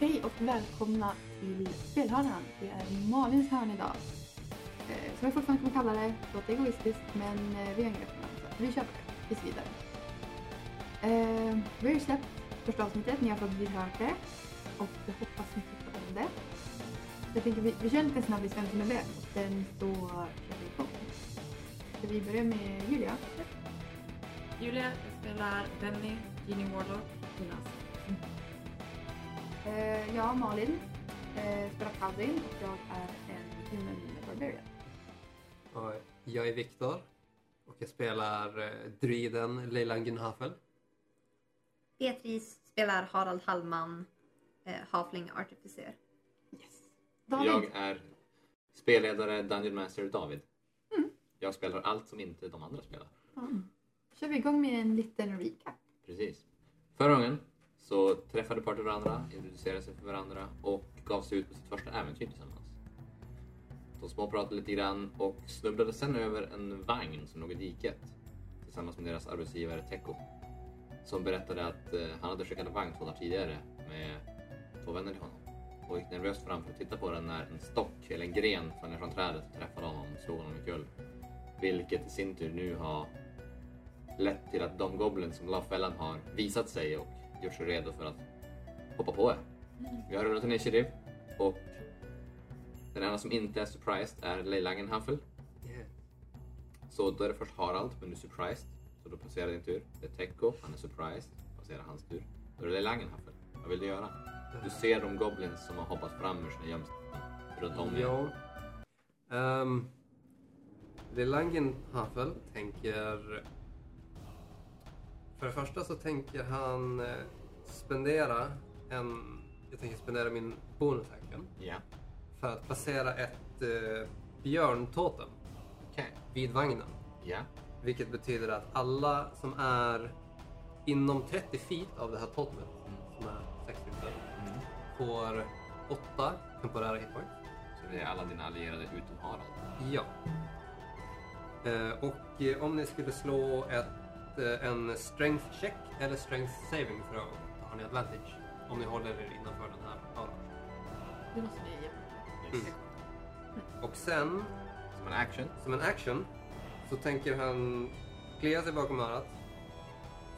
Hej och välkomna till Spelhörnan. Det är Malins hörn idag. Eh, som jag fortfarande kommer kalla det. Låter egoistiskt men eh, vi har inga referenser. Vi kör på det tills vidare. Eh, vi har ju släppt första avsnittet. Ni har fått hört det. Och jag hoppas ni tyckte om det. Jag tänker vi, vi kör en liten snabbis vem som är vem. och Sen så kör vi igång. Ska vi börja med Julia? Julia jag spelar Benny, Genie Warlock, Jonas. Eh, jag, Malin, eh, spelar Calvin och jag är en human barbarian. Och Jag är Viktor och jag spelar eh, druiden Leilan Gunhafel. Beatrice spelar Harald Hallman, eh, Hafling Artificer. Yes. David, Jag är spelledare Dungeon Master David. Jag spelar allt som inte de andra spelar. Mm. kör vi igång med en liten recap. Precis. Förra gången så träffade parter varandra, introducerade sig för varandra och gav sig ut på sitt första äventyr tillsammans. De småpratade lite grann och snubblade sen över en vagn som låg i diket tillsammans med deras arbetsgivare Teko som berättade att eh, han hade skickat en vagn två dagar tidigare med två vänner till honom och gick nervöst fram för att titta på den när en stock eller en gren föll ner från trädet och träffade honom och slog honom omkull. Vilket i sin tur nu har lett till att de goblin som Lavfällan har visat sig och gjort sig redo för att hoppa på er. Vi har rullat initiativ och den enda som inte är surprised är Leilangen Haffel. Så då är det först Harald, men du är surprised. Så då passerar din tur. Det är Teko, han är surprised. Passerar hans tur. Då är det Leilangen Haffel. Vad vill du göra? Du ser de goblins som har hoppat fram ur sina gömställen runt om er. Ja. Um, Leilan Gunhafel tänker... För det första så tänker han eh, spendera en... Jag tänker spendera min bonusaction Ja, för att placera ett eh, björntotem okej. vid vagnen. Ja, Vilket betyder att alla som är inom 30 feet av det här totemet, som är 60 meter, får 8 temporära hitpoints. så det är alla dina allierade utom Harald. Ja. Eh, och eh, om ni skulle slå ett, eh, en strength check eller strength saving för att har ni advantage. Om ni håller er innanför den här ramen. Det måste vi ge. Yes. Mm. Och sen, Som en action. som en action, så tänker han klia sig bakom örat,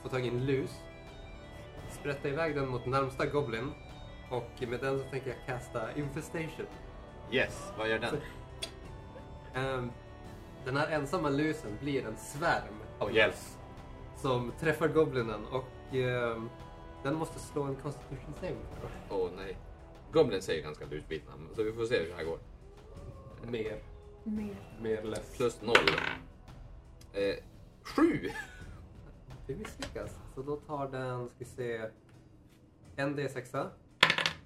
få tag i en lus, sprätta iväg den mot närmsta goblin och med den så tänker jag kasta infestation. Yes, vad gör den? Ehm, den här ensamma lusen blir en svärm Oh yes. som träffar goblinen och ehm, den måste slå en constitution saving throw. Åh nej. Goblin säger ganska utbitna, så vi får se hur det här går. Mer, Med Eh. mer less. Plus noll. Eh, sju! Det misslyckas. Så då tar den, ska vi se, en D6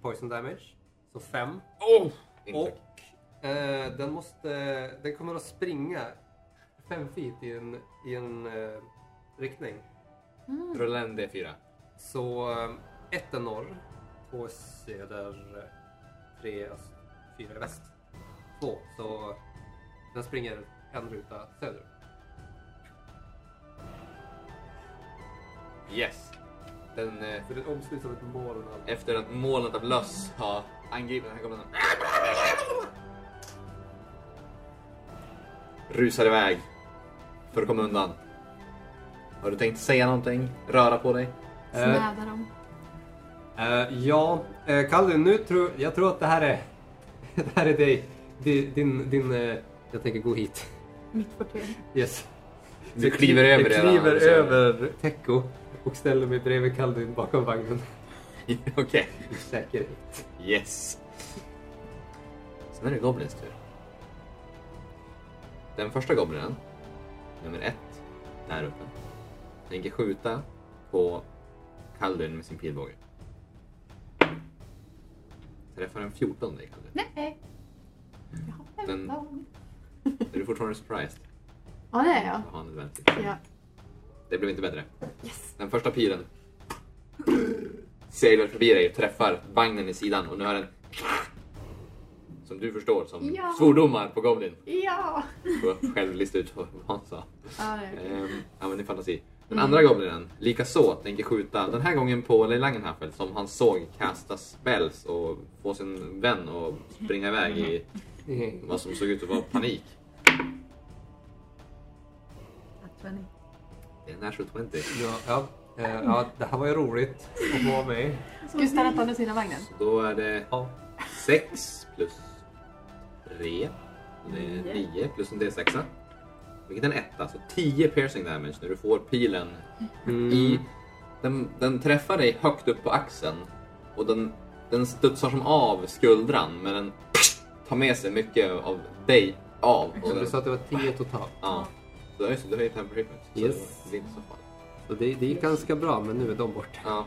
poison damage. Så fem. Oh! Inte. Och eh, den måste, den kommer att springa fem feet i en, i en eh, riktning. Rulla en D4. Så eh, ett är norr, två är söder, eh, tre är öst, fyra är väst. Två, så den springer en ruta söderut. Yes. Den, eh, Så den omsluts av ett moln av... efter att molnet av löss har angripit den här goblinen. Rusar iväg. För att komma undan. Har du tänkt säga någonting? Röra på dig? snäda dem. Eh, ja, eh, Kalle, nu tror jag tror att det här är... det här är dig. Din... din, din eh, jag tänker gå hit. Mitt forte. Yes. Du kliver över Jag redan, alltså. kliver så- över Teko och ställer mig bredvid Kaldun bakom vagnen. Okej. I säkerhet. Yes. Sen är det Goblins tur. Den första Goblinen, nummer ett, där uppe, tänker skjuta på Kaldun med sin pilbåge. Träffar en 14 dig Kaldun. Nej! Jag har Den- femton. Är du fortfarande surprised? Ja, det är jag. Då har han advantage. Ja. Det blev inte bättre. Yes! Den första pilen seglar förbi dig och träffar vagnen i sidan och nu har den som du förstår som Ja. svordomar på Goblin. Ja! Får jag själv lista ut vad han sa. Ja, det är okej. Eh. Ehm, använder fantasi. Den andra goblinen, likaså, tänker skjuta. Den här gången på Leila Langenhaffel som han såg kasta spells och få sin vän att springa iväg i vad som såg ut att vara panik. Att man- Det är en natural 20. Ja, ja, eh, ja, det här var ju roligt att vara med. Ska vi stanna på andra sidan vagnen? Så då är det Ja. 6 plus 3. Det är 9 plus en D6. Vilket är en etta, så 10 piercing damage när du får pilen Mm. i... Den, den träffar dig högt upp på axeln och den, den studsar som av skuldran men den tar med sig mycket av dig av. Och Så du den, sa att det var 10 totalt. ja. Så just det, du har ju temper treatment. Så Yes. det är inte så farligt. Så det, det gick ganska bra, men nu är de borta. Ja.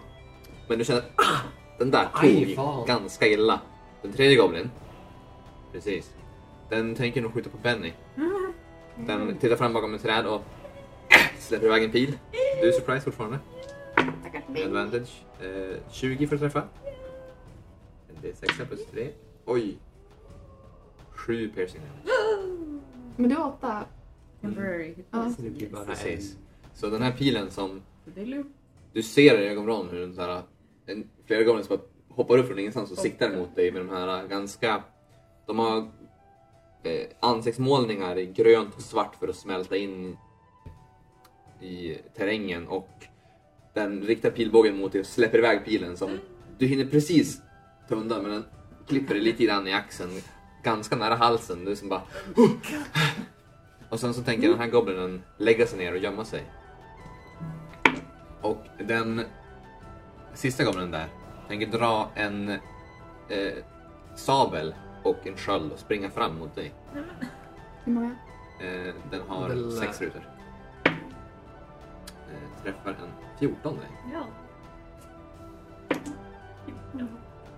Men du känner att ah, den där Aj, tog fan. ganska illa. Den tredje goblin. Precis. Den tänker nog skjuta på Benny. Den tittar fram bakom ett träd och äh, släpper iväg en pil. Du är surprise fortfarande. Med advantage. Eh, 20 för att träffa. Det är 6 plus 3. Oj! 7 piercing damage. Men det var åtta. Temporary hit Ja. points. Så det blir bara Precis. en. Så den här pilen som Det är lugnt. du ser i ögonvrån hur den där, en, flera gånger som bara hoppar upp från ingenstans och siktar mot dig med de här ganska... De har eh, ansiktsmålningar i grönt och svart för att smälta in i terrängen och den riktar pilbågen mot dig och släpper iväg pilen som du hinner precis ta undan men den klipper dig lite grann i axeln ganska nära halsen. Du är som bara... Och sen så tänker den här goblinen lägga sig ner och gömma sig. Och den sista goblinen där tänker dra en eh, sabel och en sköld och springa fram mot dig. Hur många? Eh, den har Den lär- sex rutor. Eh, träffar en 14 dig. Ja.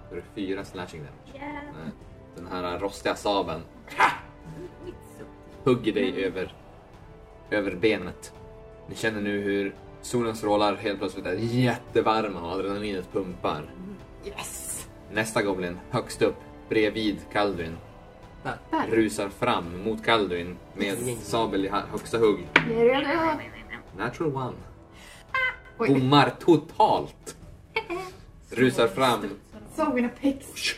Då är det fyra slashing damage. Eh, Den här rostiga sabeln hugger Mm. dig över, över benet. Ni känner nu hur solens strålar helt plötsligt är jättevarma och adrenalinet pumpar. Mm. Yes! Nästa Goblin, högst upp, bredvid Kaldrin, Där. Där. rusar fram mot Kaldrin med sabel i ha- högsta hugg. Jag är redo. Natural one. Oj, Bommar totalt! Rusar fram. såg mina pecs.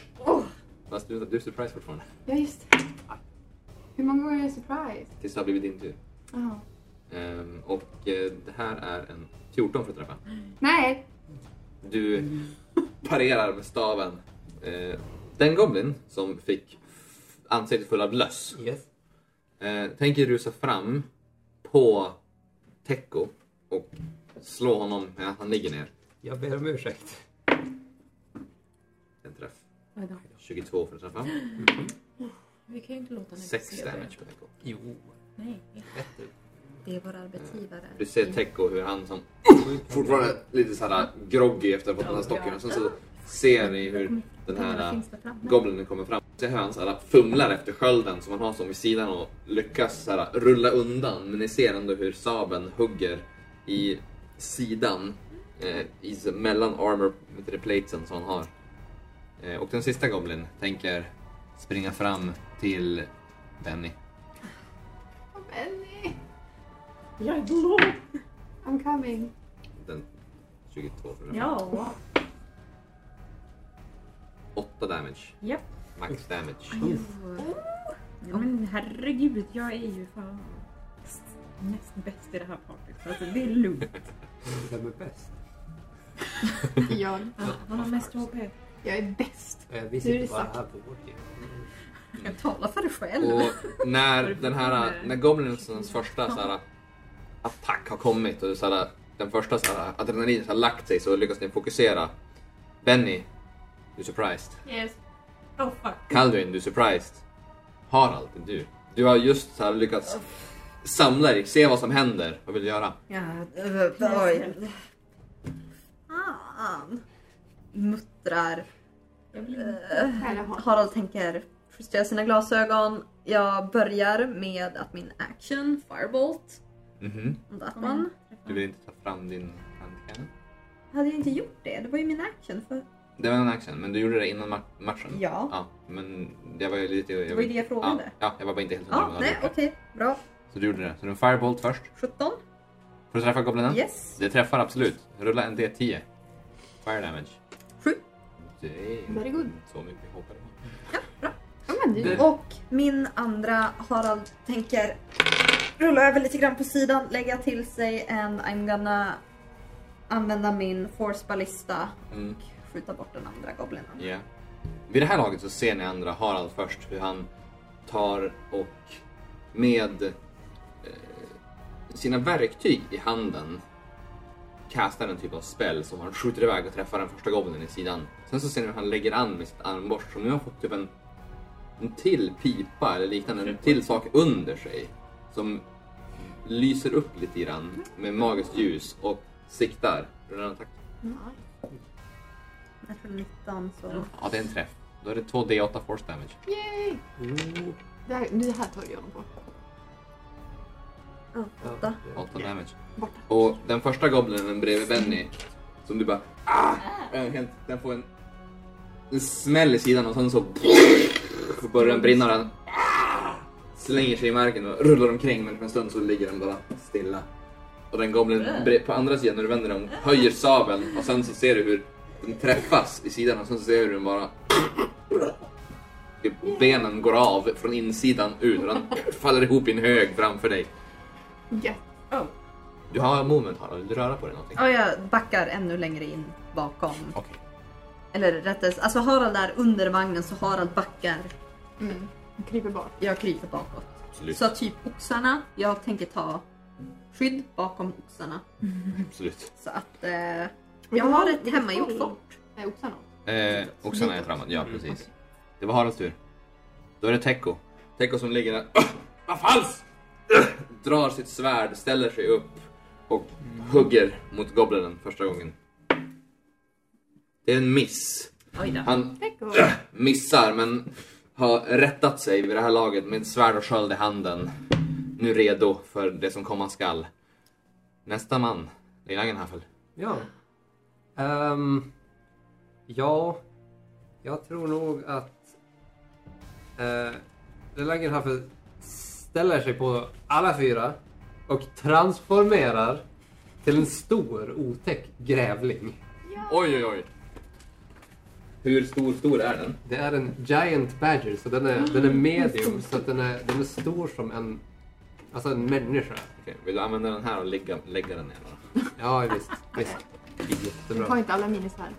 Fast du, du är surprise fortfarande. Ja, just Hur många gånger är det surprise? Tills det har blivit din tur. Jaha. Ehm, och eh, det här är en 14 för att träffa. Nej! Du parerar med staven. Eh, den Goblin som fick f- ansiktet full av löss Yes. Eh, tänker rusa fram på Teko och slå honom med att han ligger ner. Jag ber om ursäkt. En träff. Oj då. 22 för att träffa. Vi kan ju inte låta henne 6 se det. damage på Teko. Jo. Nej. Det är vår arbetsgivare. Du ser Teko hur han som fortfarande lite så här groggy efter att ha fått den här stocken och sen så ser ni hur den här goblinen kommer fram. Ser hur han så här fumlar efter skölden som han har som vid sidan och lyckas så här rulla undan men ni ser ändå hur sabeln hugger i sidan eh, i, s- mellan armor vet du det, platesen som han har. Eh, och den sista goblin tänker springa fram till Benny. Oh, Benny! Jag är blå! I'm coming. Den 22 för Ja. 8 damage. Japp. Max damage. Nej, men herregud, jag är ju fan näst bäst i det här partyt. Så alltså, det är lugnt. Vem är bäst? Jag. Ja, Han har mest HP. Jag är bäst. Eh, Vi Nu är sitter det bara sagt. här på vårt liv. Jag talar för dig själv. Och när den här, när Goblinens första så här, attack har kommit och så här, den första så här, adrenalinet har lagt sig så lyckas ni fokusera. Benny, du är surprised. Yes. Oh fuck. Kaldrin, du är surprised. Harald, det är du. Du har just så här lyckats samla dig, se vad som händer. Vad vill du göra? Ja, äh, oj. Fan. Muttrar. Jag blir Äh, Här är hon. Harald tänker justera sina glasögon. Jag börjar med att min action, firebolt, Mhm. on that Kom igen. one. Du vill inte ta fram din handcannon? Hade jag inte gjort det? Det var ju min action. För... Det var en action, men du gjorde det innan ma- matchen? Ja. Ja, men jag var ju lite... Jag Det var ju det jag ja, frågade. ja, jag var bara inte helt Ja, om du hade nej gjort det. okej. Bra. Så du gjorde det. Så du har en firebolt först. 17. För att träffa goblinen? Yes. Det träffar absolut. Rulla en D10. Fire damage. Sju. Det är Very good. inte Så mycket jag hoppade på. Ja, men det är ju... Och min andra Harald tänker rulla över lite grann på sidan, lägga till sig en I'm gonna använda min force ballista Mm. och skjuta bort den andra goblinen. Ja. Vid det här laget så ser ni andra Harald först hur han tar och med eh, sina verktyg i handen kastar en typ av spel som han skjuter iväg och träffar den första goblinen i sidan. Sen så ser ni hur han lägger an med sitt armborst som nu har fått typ en, en till pipa eller liknande, en till sak under sig som lyser upp lite grann med magiskt ljus och siktar. Rullar en attack. Jag tror 19 så... Ja, det är en träff. Då är det 2D8 force damage. Yay! Mm. Det här, det här tar ju honom på. Ja, åtta. 8 damage. Borta. Och den första goblinen bredvid Benny, som du bara ah! Äh, helt- Den får en, en smäll i sidan och sen så börjar den brinna och den ah! slänger sig i marken och rullar omkring men för en stund så ligger den bara stilla. Och den goblinen bre- på andra sidan när du vänder dig om höjer sabeln och sen så ser du hur den träffas i sidan och sen så ser du hur den bara typ benen går av från insidan ut och den faller ihop i en hög framför dig. Yes. Du har moment Harald, vill du röra på dig någonting? Ja, jag backar ännu längre in bakom. Okej. Eller rättare sagt, alltså Harald är under vagnen så Harald backar. Mm. Han Kryper bort. Jag kryper bakåt. Absolut. Så typ oxarna, jag tänker ta skydd bakom oxarna. Absolut. Så att eh, jag har ett hemmagjort folk. fort. Nej, oxarna. Eh, oxarna är framåt, ja Mm. precis. Det var Haralds tur. Då är det Teko. Teko som ligger där. Vad falskt! Drar sitt svärd, ställer sig upp och hugger mot goblinen första gången. Det är en miss. Oj då. Han Teko. missar men har rättat sig vid det här laget med svärd och sköld i handen. Nu redo för det som komma skall. Nästa man, Lilla Angenhaffel. Ja. Ehm, ja, jag tror nog att uh, Langenhaffe ställer sig på alla fyra och transformerar till en stor otäck grävling. Oj, oj, oj. Hur stor, stor är den? Det är en giant badger, så den är, den är medium, så att den, är, den är stor som en, alltså en människa. Okej, vill du använda den här och lägga, lägga den ner bara? Ja, visst. visst. Jättebra. Jag tar inte alla minisvärd.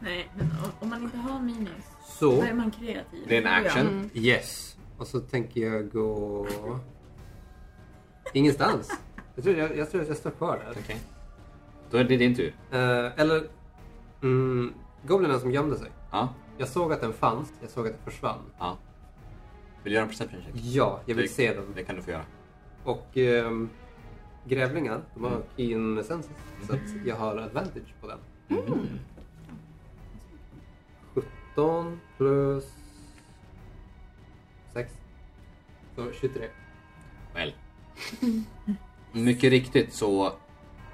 Nej, men o- om man inte har minus, då Så. är man kreativ. Det är en action. Mm. Yes. Och så tänker jag gå... Ingenstans. Jag tror, jag, jag tror att jag står kvar där. Okej. Då är det din tur. Eh, eller... Mm, goblinen som gömde sig. Ja. Jag såg att den fanns, jag såg att den försvann. ja. Vill du göra en perception check? Ja, jag vill Det- se den. Det kan du få göra. Och ehm, grävlingar, de har Mm. keen senses. Så att jag har advantage på den. Mm. 17 plus 6. Så 23. Väl. Mycket riktigt så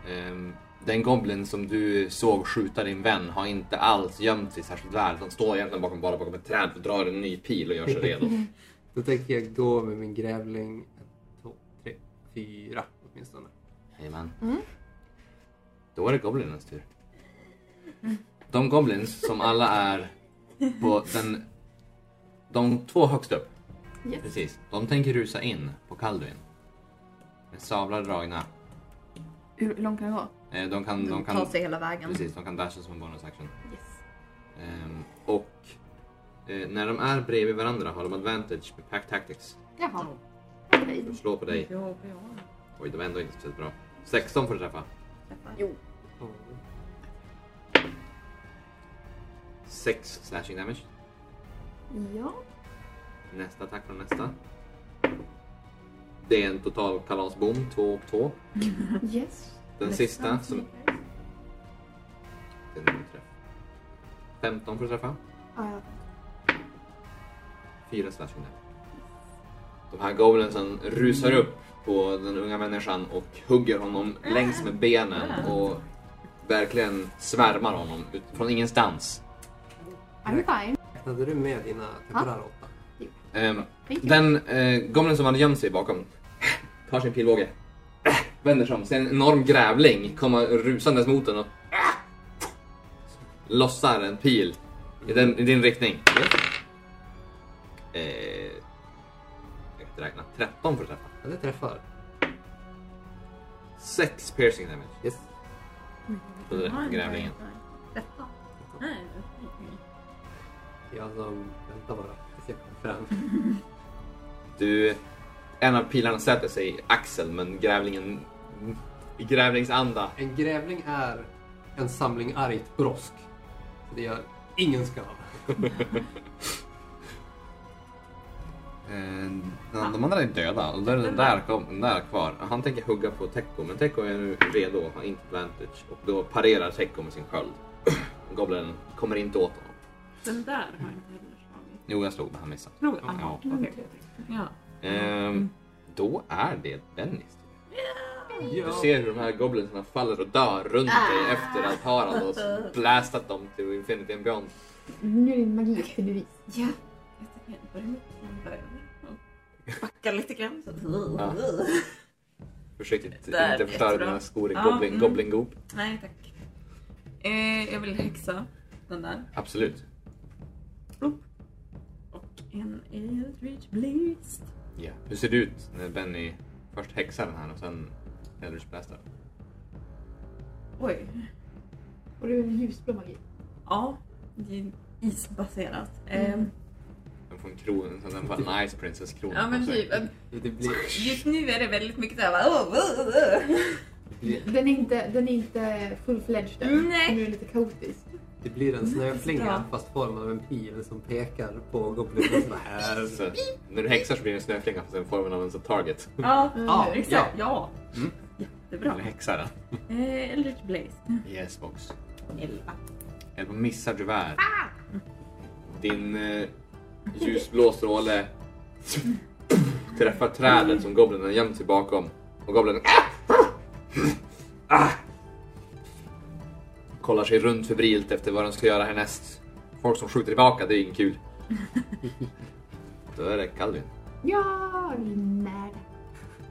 ehm, den goblin som du såg skjuta din vän har inte alls gömt sig särskilt väl. Han står egentligen bakom, bara bakom ett träd och drar en ny pil och gör sig redo. Då tänker jag gå med min grävling. 1, 2, 3, 4 åtminstone. Jajamän. Mm. Då är det goblinens tur. De goblins som alla är på den... De två högst upp. Yes. Precis. De tänker rusa in på Kalduin. Med sablar dragna. Hur hur långt kan det gå? Eh, De kan... De Ta kan sig hela vägen. precis, de kan dasha som en bonus action. Yes. Ehm, och eh, när de är bredvid varandra har de advantage med pack tactics. Jaha. Okej. De slår på dig. Mycket HP jag har. Oj, det var ändå inte speciellt bra. 16 får du träffa. Jo. Och 6 slashing damage. Ja. Nästa attack från nästa. Det är en total kalasbom, 2 och 2. Yes. Den sista som... Den är en träff. 15 för att träffa, Ja, ja. 4 slashing damage. De här goblinsen rusar upp på den unga människan och hugger honom längs med benen och verkligen svärmar honom ut från ingenstans. I'm fine. Räknade du med dina temporära åtta? Ehm, Thank you. Den eh, goblin som hade gömt sig bakom tar sin pilbåge vänder sig om, ser en enorm grävling komma rusandes mot den och lossar en pil i, den, i din riktning. Eh, jag kan inte räkna. 13 för att träffa. Ja, det träffar. 6 piercing damage. Yes. På den här grävlingen. Detta. Nej, Jag som... alltså, Vänta bara. Jag ska komma fram. Du, en av pilarna sätter sig i axeln men grävlingen i grävlingsanda En grävling är en samling argt brosk. Så det gör ingen skada. Eh, de andra är döda och då är den där, kom, den där kvar. Han tänker hugga på Teko men Teko är nu redo och har inte vantage och då parerar Teko med sin sköld. Goblinen kommer inte åt honom. Den där har jag inte heller slagit. Jo, jag slog men han missade. Tror jag. Ja, Mm. Ja. Ehm, då är det Dennis. Ja. Du ser hur de här goblinsarna faller och dör runt dig efter att Harald har blastat dem till Infinity and Beyond. Nu är din magi upp till bevis. Ja. Jag börjar med en början. Och Backar lite grann. Så. Ja. Försökte Där, inte förstöra jättebra. dina skor i Ja, goblin, mm. goblingop. Nej tack. Eh, jag vill häxa den där. Absolut. Och en Eldritch Blast. Ja. Hur ser det ut när Benny först häxar den här och sen Eldritch blastar? Oj. Och det är en ljusblå magi. Ja. Det är isbaserat. Eh, Mm. Den får en krona, en sån där Van Ice Princess krona ja men på sig. typ. eh, Det blir... Just nu är det väldigt mycket såhär oh, oh, oh. Den är inte, den är inte full-fledged än. Nej. Nu är den lite kaotisk. Det blir en snöflinga Ja. fast form av en pil som pekar på goblinen så här. Så, när du häxar så blir det en snöflinga fast den formen av en sån target. Ja, Ja, exakt. Ja. Mm. Jättebra. Eller häxaren. Eh, Eldritch Blast. Yes box. Elva. Eller vad missar tyvärr. Din eh, ljusblå stråle träffar trädet som goblinen har gömt sig bakom. Och goblinen ah! kollar sig runt febrilt efter vad den ska göra härnäst. Folk som skjuter tillbaka, det är inget kul. Då är det Calvin. Ja, jag blir mad.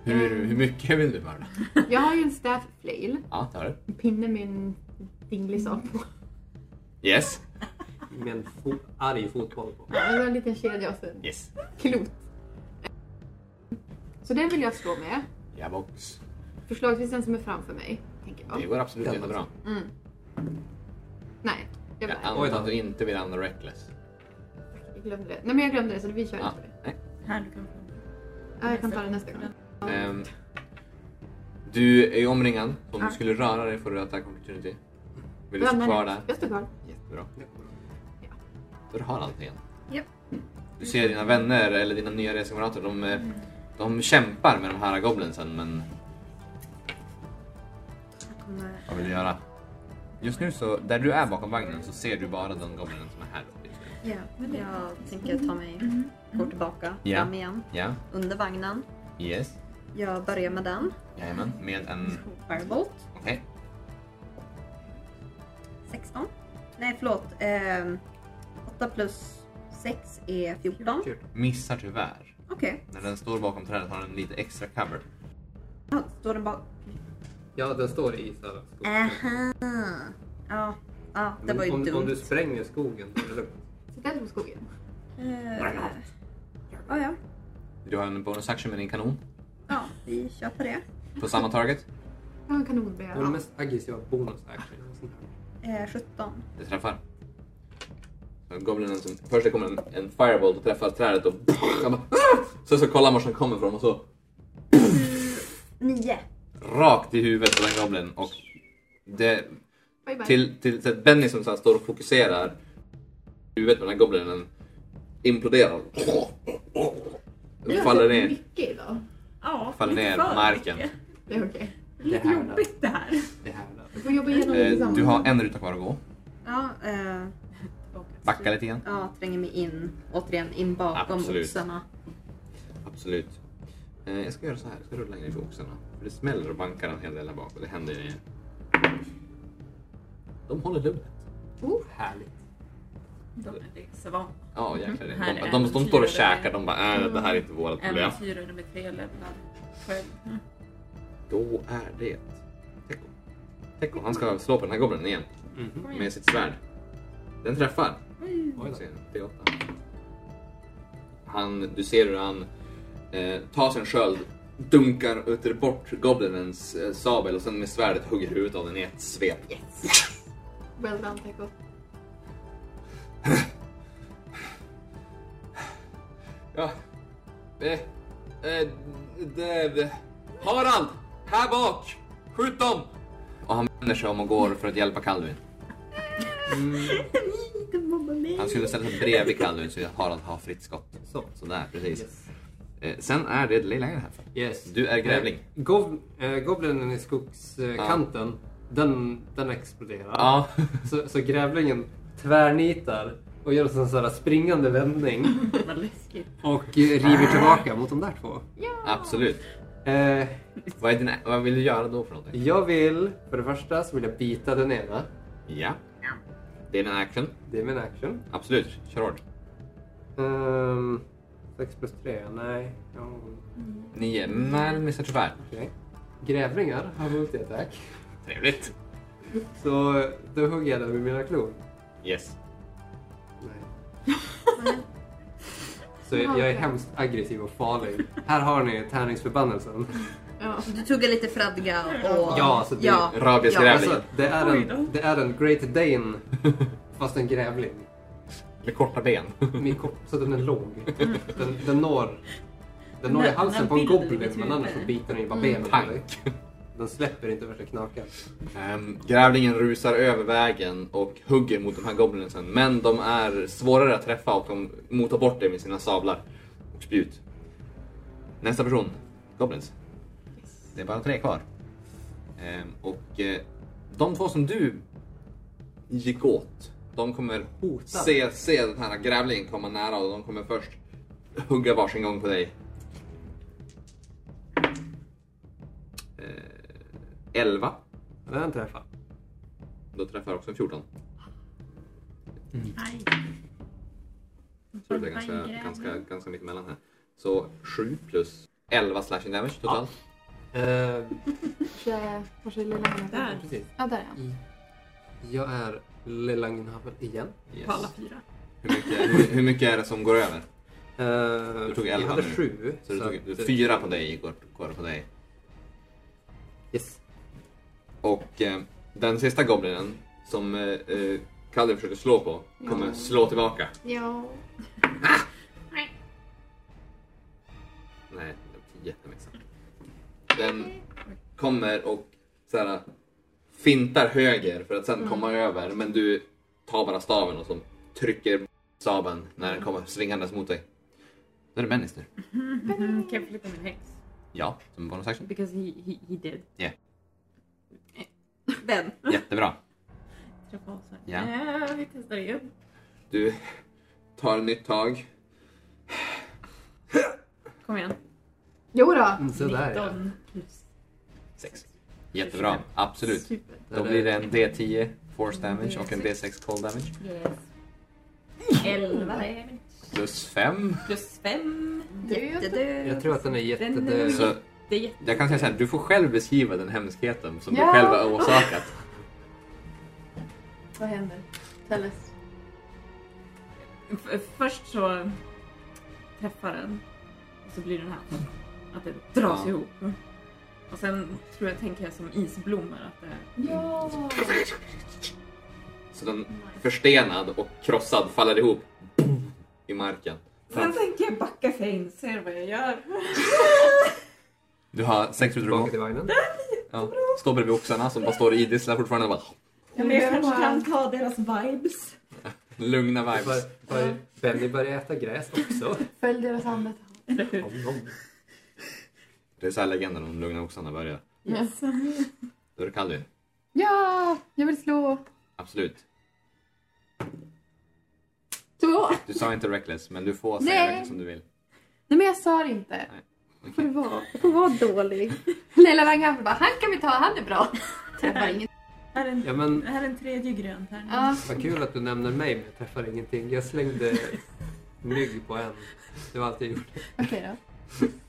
Hur, hur mycket vill du mörda? Jag har ju en staff flail. Mm. Ja, det har du. En pinne med en dinglig sak på. Yes. Med en fo- arg fotboll på. Ja, det var en liten kedja och sen Yes. klot. Så den vill jag slå med. Ja, box. Förslagsvis den som är framför mig, tänker Det jag. går absolut Ja, jättebra. Mm. Nej, jag, Jag jag, antar att du inte vill använda reckless. glömde det. Nej men jag glömde det så vi kör Ja. inte på det. Nej. Här du kan få. Ja, jag kan ta det nästa gång. Ehm, du är ju omringad. Om Ja. du skulle röra dig får du attack opportunity. Vill du stå Ramlar kvar ner. där? Jag står kvar. Jättebra. Ja. Då har han allting igen. Japp. Du ser dina vänner, eller dina nya resekamrater, de, eh, de kämpar med de här goblinsen men Jag kommer... vad vill du göra? Just nu så, där du är bakom vagnen så ser du bara den goblinen som är här uppe just nu. Ja, Mm. jag tänker ta mig gå tillbaka Ja. fram igen Ja, under vagnen. yes. Jag börjar med den. Jajamän. Med en... Firebolt. Okej. 16. Nej, förlåt. Eh, 8 plus 6 är 14. Missar tyvärr. Okej. När den står bakom trädet har den lite extra cover. Ja, Står den bak? Ja, den står i så här. Aha. Ja, ja det Men var ju om, dumt. om du spränger skogen då är det lugnt. Sätt eld på skogen. Eh, ja, ja. Du har en bonus action med din kanon. ja, vi köper det. På samma target. Jag har en kanon bredvid. Vår mest aggressiva bonus action. och sånt där. Eh, 17. Det träffar. Så Goblinen som, först det kommer en, en firebolt och träffar trädet och han bara, "Ah!" Sen så kollar man var den kommer ifrån och så 9. rakt i huvudet på den goblinen. Och det, Bye bye. till, till, till att Benny som så här står och fokuserar i huvudet på den här goblinen imploderar. Vi har Faller sett ner. Mycket idag. Ja, Faller lite ner för på marken. mycket. Det är okej. Lite här då. jobbigt det här. Det här då. Vi får jobba igenom det Eh, tillsammans. Du har en ruta kvar att gå. Ja, eh, Backa lite igen. ja, tränger mig in. Återigen in bakom Absolut. oxarna. Absolut. Eh, jag ska göra så här, jag ska rulla in i boxarna. För det smäller och bankar en hel del där bak och det händer grejer. De håller lugnet. Oh, Härligt. De är liksom Ja, jäklar. det. Här De, är de, de, står och äventyrare. käkar, de bara äh, det här är inte vårt problem. Mm. äventyrare med tre levlar själv. Då är det Teko. Teko, han ska slå på den här goblinen igen Mhm. Kom igen. med sitt svärd. Den träffar. Mm. Oj då. Vi får se, P8. Han, du ser hur han eh, tar sin sköld, dunkar och tar bort goblinens eh, sabel och sen med svärdet hugger huvudet av den i ett svep. Well done, Teko. Ja. Eh, eh, det, Harald! Här bak! Skjut dem! Och han vänder sig om och går för att hjälpa Kalduin. Inte mobba mig. Han skulle ställa sig bredvid Kalduin så Harald har fritt skott. Så. Sådär, precis. Yes. Eh, sen är det Leila här. Yes. Du är grävling. Eh, gov, eh, goblinen i skogskanten, den, den exploderar. Ja. Så, så grävlingen tvärnitar och gör en sån här springande vändning Vad läskigt. och eh, river tillbaka mot de där två. Absolut. Eh, Vad, är din, vad vill du göra då för någonting? jag vill, för det första så vill jag bita den ena. Ja. Det är en action. Det är min action. Absolut. Kör hårt. Ehm, 6 plus 3, nej. Ja, Nio. Nej, missar tyvärr. okej. Grävlingar har multi-attack. Trevligt. Så eh, då hugger jag den med mina klor. Yes. Nej. Så jag, jag är hemskt aggressiv och farlig. Här har ni tärningsförbannelsen. Ja. Du tuggar lite fradga och... Ja, så det- ja. Rabiesgrävling. Alltså, det, är Oj då. en, det är en Great Dane, fast en grävling. Med korta ben. Min kopp, så den är lång. Den, den når, den når i Den- halsen den på en bilden i goblin, mitt men huvud. annars så biter den ju bara Mm. benen på Tank. dig. Den släpper inte värsta knakar. Ehm, grävlingen rusar över vägen och hugger mot de här goblinsen. Men de är svårare att träffa och de motar bort det med sina sablar och spjut. Nästa person. Goblins. Det är bara tre kvar. Ehm, och eh, de två som du gick åt, de kommer Hotade. se, se den här grävlingen komma nära och de kommer först hugga varsin gång på dig. Eh, Ehm, elva. Den träffar. Då träffar jag också en 14. Aj. Så det är ganska, Grävling. ganska, ganska mitt emellan här. Så 7 plus 11 slashing damage totalt. Eh, Kanske, kanske lilla handen. Där. precis. Ja, där är han. Jag är Lelangenhavel igen. På Yes. alla fyra. Hur, mycket, hur, hur mycket är det som går över? Eh, Du tog jag elva hade nu. sju. Så du så tog, att- du, fyra på dig går, går på dig. Yes. Och eh, den sista goblinen som eh, eh, Kalle försöker slå på kommer Ja. slå tillbaka. Ah! Ja. Nej, det är jättemissat. Den kommer och så här, eh, fintar höger för att sen komma Mm. över men du tar bara staven och så trycker sabeln när den kommer svingandes mot dig. Då är det Bennis nu. Mm, kan jag flytta min häx? Ja, som bonus action. Because he, he, he did. Den. Jättebra. Träffa oss här. Ja. Ja, vi testar igen. Du tar ett nytt tag. Kom igen. Jo då. Mm, Så där ja. 19 plus. Sex. Jättebra, absolut. Super. Då blir det en D10 force damage och en D6 cold damage. Yes. 11 damage. Plus 5. Plus 5. Jättedöd. Jag tror att den är Den är- jättedöd. Så Det är jätte... jag kan säga så här, du får själv beskriva den hemskheten som Ja. du själv har orsakat. Vad händer? Tell us. F- Först så träffar den. Och så blir den här. Att det dras Ja. ihop. Och sen tror jag, tänker jag som isblommor att det... Ja. Så den förstenad och krossad faller ihop i marken. Sen tänker jag backa för jag inser vad jag gör. Du har sex minuter Tillbaka till vagnen. ja. Står bredvid oxarna som bara står i idisslar fortfarande. Bara, Ja, men jag kanske kan ta deras vibes. lugna vibes. Bör- bör- Benny börjar äta gräs också. Följ deras andetag. Det är så här legenden om lugna oxarna börjar. Yes. Då är det Kaldu. Ja, jag vill slå. Absolut. Två. Du sa inte reckless, men du får säga Nej. vilket som du vill. Nej men jag sa det inte. Nej, okej. Får du vara, jag får vara dålig. Lilla Langhaffe bara, han kan vi ta, han är bra. Träffar ingen. Här är en, Ja, men- här är en tredje grön tärning. Ja, Vad kul att du nämner mig, men jag träffar ingenting. Jag slängde mygg på en. Det var allt jag gjorde. okej då.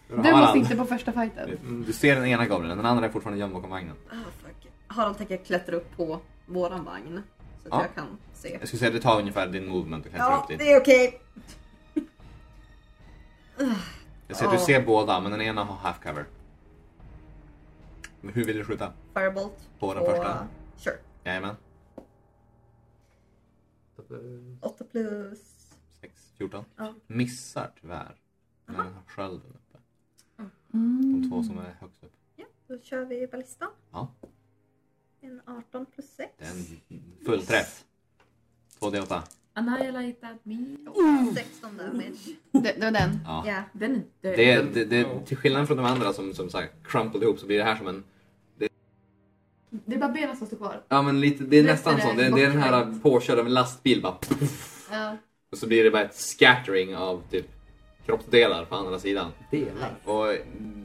Du måste Harald. inte på första fighten. Du ser den ena goblinen, den andra är fortfarande gömd bakom vagnen. Ah, fuck. Harald tänker klättra upp på våran vagn. Så att Ja. jag kan se. Jag skulle säga att det tar ungefär din movement att klättra Ja, upp dit. det är okej. Jag ser att du Ja. ser båda, men den ena har half cover. Men hur vill du skjuta? Firebolt. På den Och, första? Sure. Jajamän. eh, Åtta plus. 6, 14. Ja. Missar tyvärr. Men den har skölden uppe. Mm. De två som är högst upp. Ja, då kör vi ballistan. Ja. En 18 plus 6. Det är en full träff. 2D8. Annihilate that me. 16 damage. Det, det var den. Ja. Ja. Den är död. Det, är- det, det, till skillnad från de andra som, som så här crumpled ihop så blir det här som en... Det är bara benen som står kvar. Ja men lite, det är Resten nästan är sån. Det, det är den här påkörd av en lastbil bara. Ja. Och så blir det bara ett scattering av typ kroppsdelar på andra sidan. Delar. Och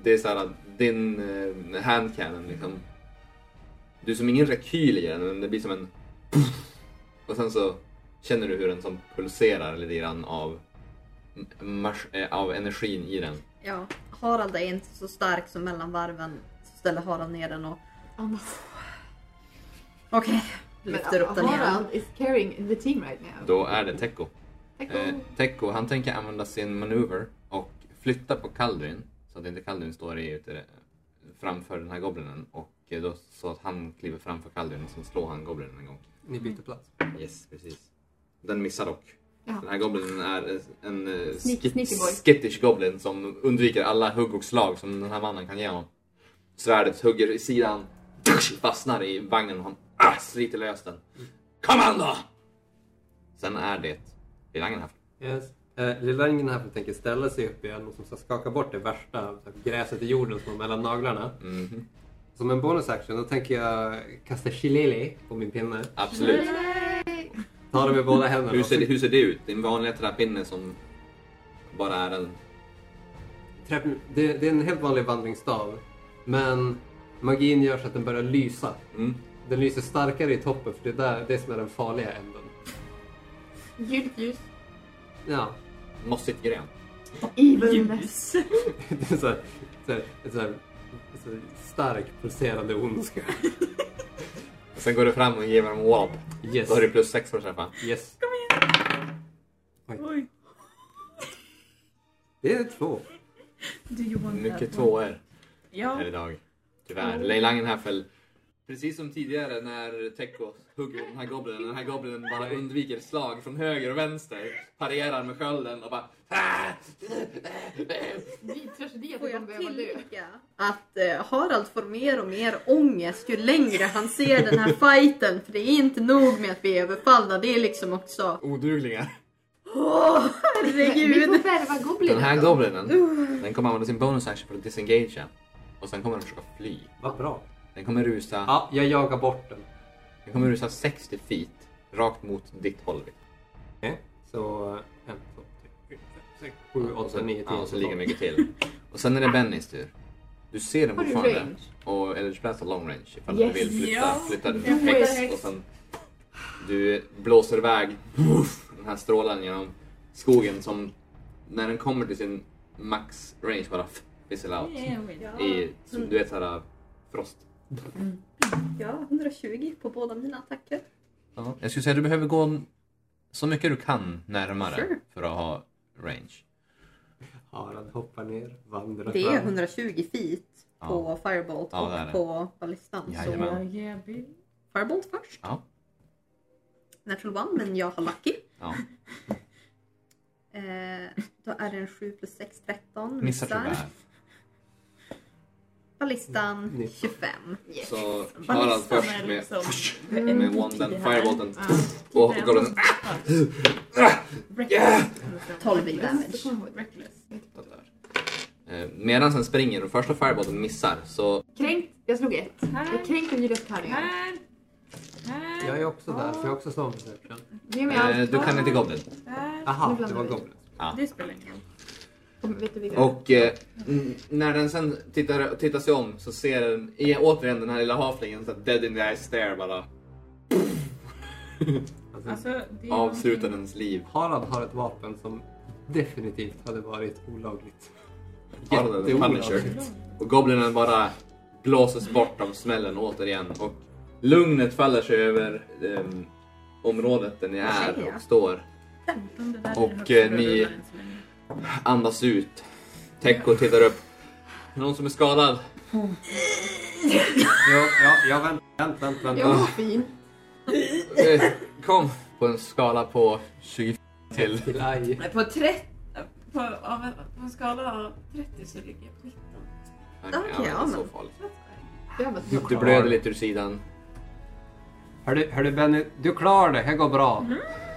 det är såhär, din eh, hand cannon liksom. Du är som ingen rekyl i den, men det blir som en... Och sen så känner du hur den som pulserar lite grann av, mars- eh, av energin i den. ja. Harald är inte så stark som mellan varven. Så ställer Harald ner den och Annars. okej. Lyfter upp den igen. Harald is carrying the team right now. Då är det Teko. Tack Eh, och- Teko, han tänker använda sin manöver och flytta på Kaldrin så att inte Kaldrin står i, ute, framför den här goblinen. Och eh, då, så att han kliver framför Kaldrin och sen slår han goblinen en gång. Ni byter plats. Yes, precis. Den missar dock. Ja. Den här goblinen är en eh, Sneak- skit- sneaky boy. skittish goblin som undviker alla hugg och slag som den här mannen kan ge honom. Svärdet hugger i sidan, fastnar i vagnen och han ah, sliter lös den. Kom an då! Sen är det Bilangen här. Yes. Eh, lilla ringen här tänker ställa sig upp igen och som ska skaka bort det värsta så här, gräset i jorden som är mellan naglarna. Mhm. Som en bonus action då tänker jag kasta chilele på min pinne. Absolut. Ta den med båda händerna. Hur ser, det, hur ser det ut? Din vanliga träpinne som bara är en... Träff- Det, det är en helt vanlig vandringsstav. Men magin gör så att den börjar lysa. Mm. Den lyser starkare i toppen för det är där, det som är den farliga änden. Gult ljus. Ja, Mossigt grön. Evilness. Ljus. det är så här, så här, en så här, så här stark pulserande ondska. Och sen går du fram och ger dem wallop. Yes. Då har du plus 6 för att träffa. yes. Oj, Det är två. do you want Mycket that one? tvåor. Ja. här idag. Tyvärr. Leilangen här föll. Precis som tidigare när Teko hugger den här goblinen. Den här goblinen bara undviker slag från höger och vänster. Parerar med skölden och bara... "Ah!" Ny tragedi att Får vi kommer jag behöva dö. tillägga att eh, Harald får mer och mer ångest ju längre han ser den här fighten. För det är inte nog med att vi är överfallna, det är liksom också... Oduglingar. Åh, Vi får herregud! värva goblinen. Den här då. goblinen, den kommer använda sin bonus action för att disengagea. Och sen kommer den försöka fly. Vad bra. Den kommer rusa, Ja, jag jagar bort den. den kommer rusa 60 feet rakt mot ditt håll. liksom. Okej, Så eh, en, två, tre, fyra, fem, sex, sju, Och åtta, sen, nio, ja, tio. och så tolv. ligger mycket till. Och sen är det Bennys tur. Du ser den Har du fortfarande. range? Och Eldritch Blast har long range ifall Yes. du vill flytta, Ja. flytta din Jag får häx häx. och sen du blåser iväg woof, den här strålen genom skogen som när den kommer till sin max range bara f- fizzle out. Yeah, we do. I, som du vet såhär frost. Ja, 120 på båda mina attacker. Jag skulle säga du behöver gå så mycket du kan närmare Sure. för att ha range. Harald hoppar ner, vandrar Det är fram. 120 feet på Firebolt Ja, det är och det. på ballistan. Alltså, Jajamän. Så Yeah, bitch. Firebolt först. Ja. Natural one, men jag har Lucky. Ja. Eh, då är det en 7 plus 6, 13. Missar tyvärr. Ballistan Nitton. 25. Yes. Så Harald Ballistan först är liksom med med en wanden, tid här. firebolten. Ja, och tiden. goblinen. Reckless. Ah! 12 i damage. Reckless. Eh, Medan den springer och första firebolten missar så Kränkt. Jag slog ett. Jag är kränkt av Julias tärningar. Här. Här. Jag är också där, för jag har också slagit perception. Ge mig eh, allt. du kan inte goblin. Där. Aha, Nu det blandar var vi. Goblin. Det spelar ingen roll. Och Vet du vilka? Och eh, n- när den sen tittar, tittar sig om så ser den i- återigen den här lilla havflingen så att dead in the eye stare bara Alltså, Alltså, det är avslutar dens liv. Harald har ett vapen som definitivt hade varit olagligt. Jätteolyckligt. Och goblinen bara blåses bort av smällen återigen och lugnet faller sig över ehm, området där ni är och står. Om det där är Och, det högsta eh, ni- rullar än så länge. Andas ut. Teko tittar upp. Någon som är skadad? Ja, ja, ja vänt, vänt, vänt, vänt. Jag var fin. Eh, Kom! På en skala på 24 till. Till aj. Nej, På 30... På, av en- på en skala av 30 så ligger jag på 19. Ja, Okej, det är ja, så men- farligt. Jag var Du fin. blöder lite ur sidan. Hördu, hördu Benny, du klarar det. Här går bra.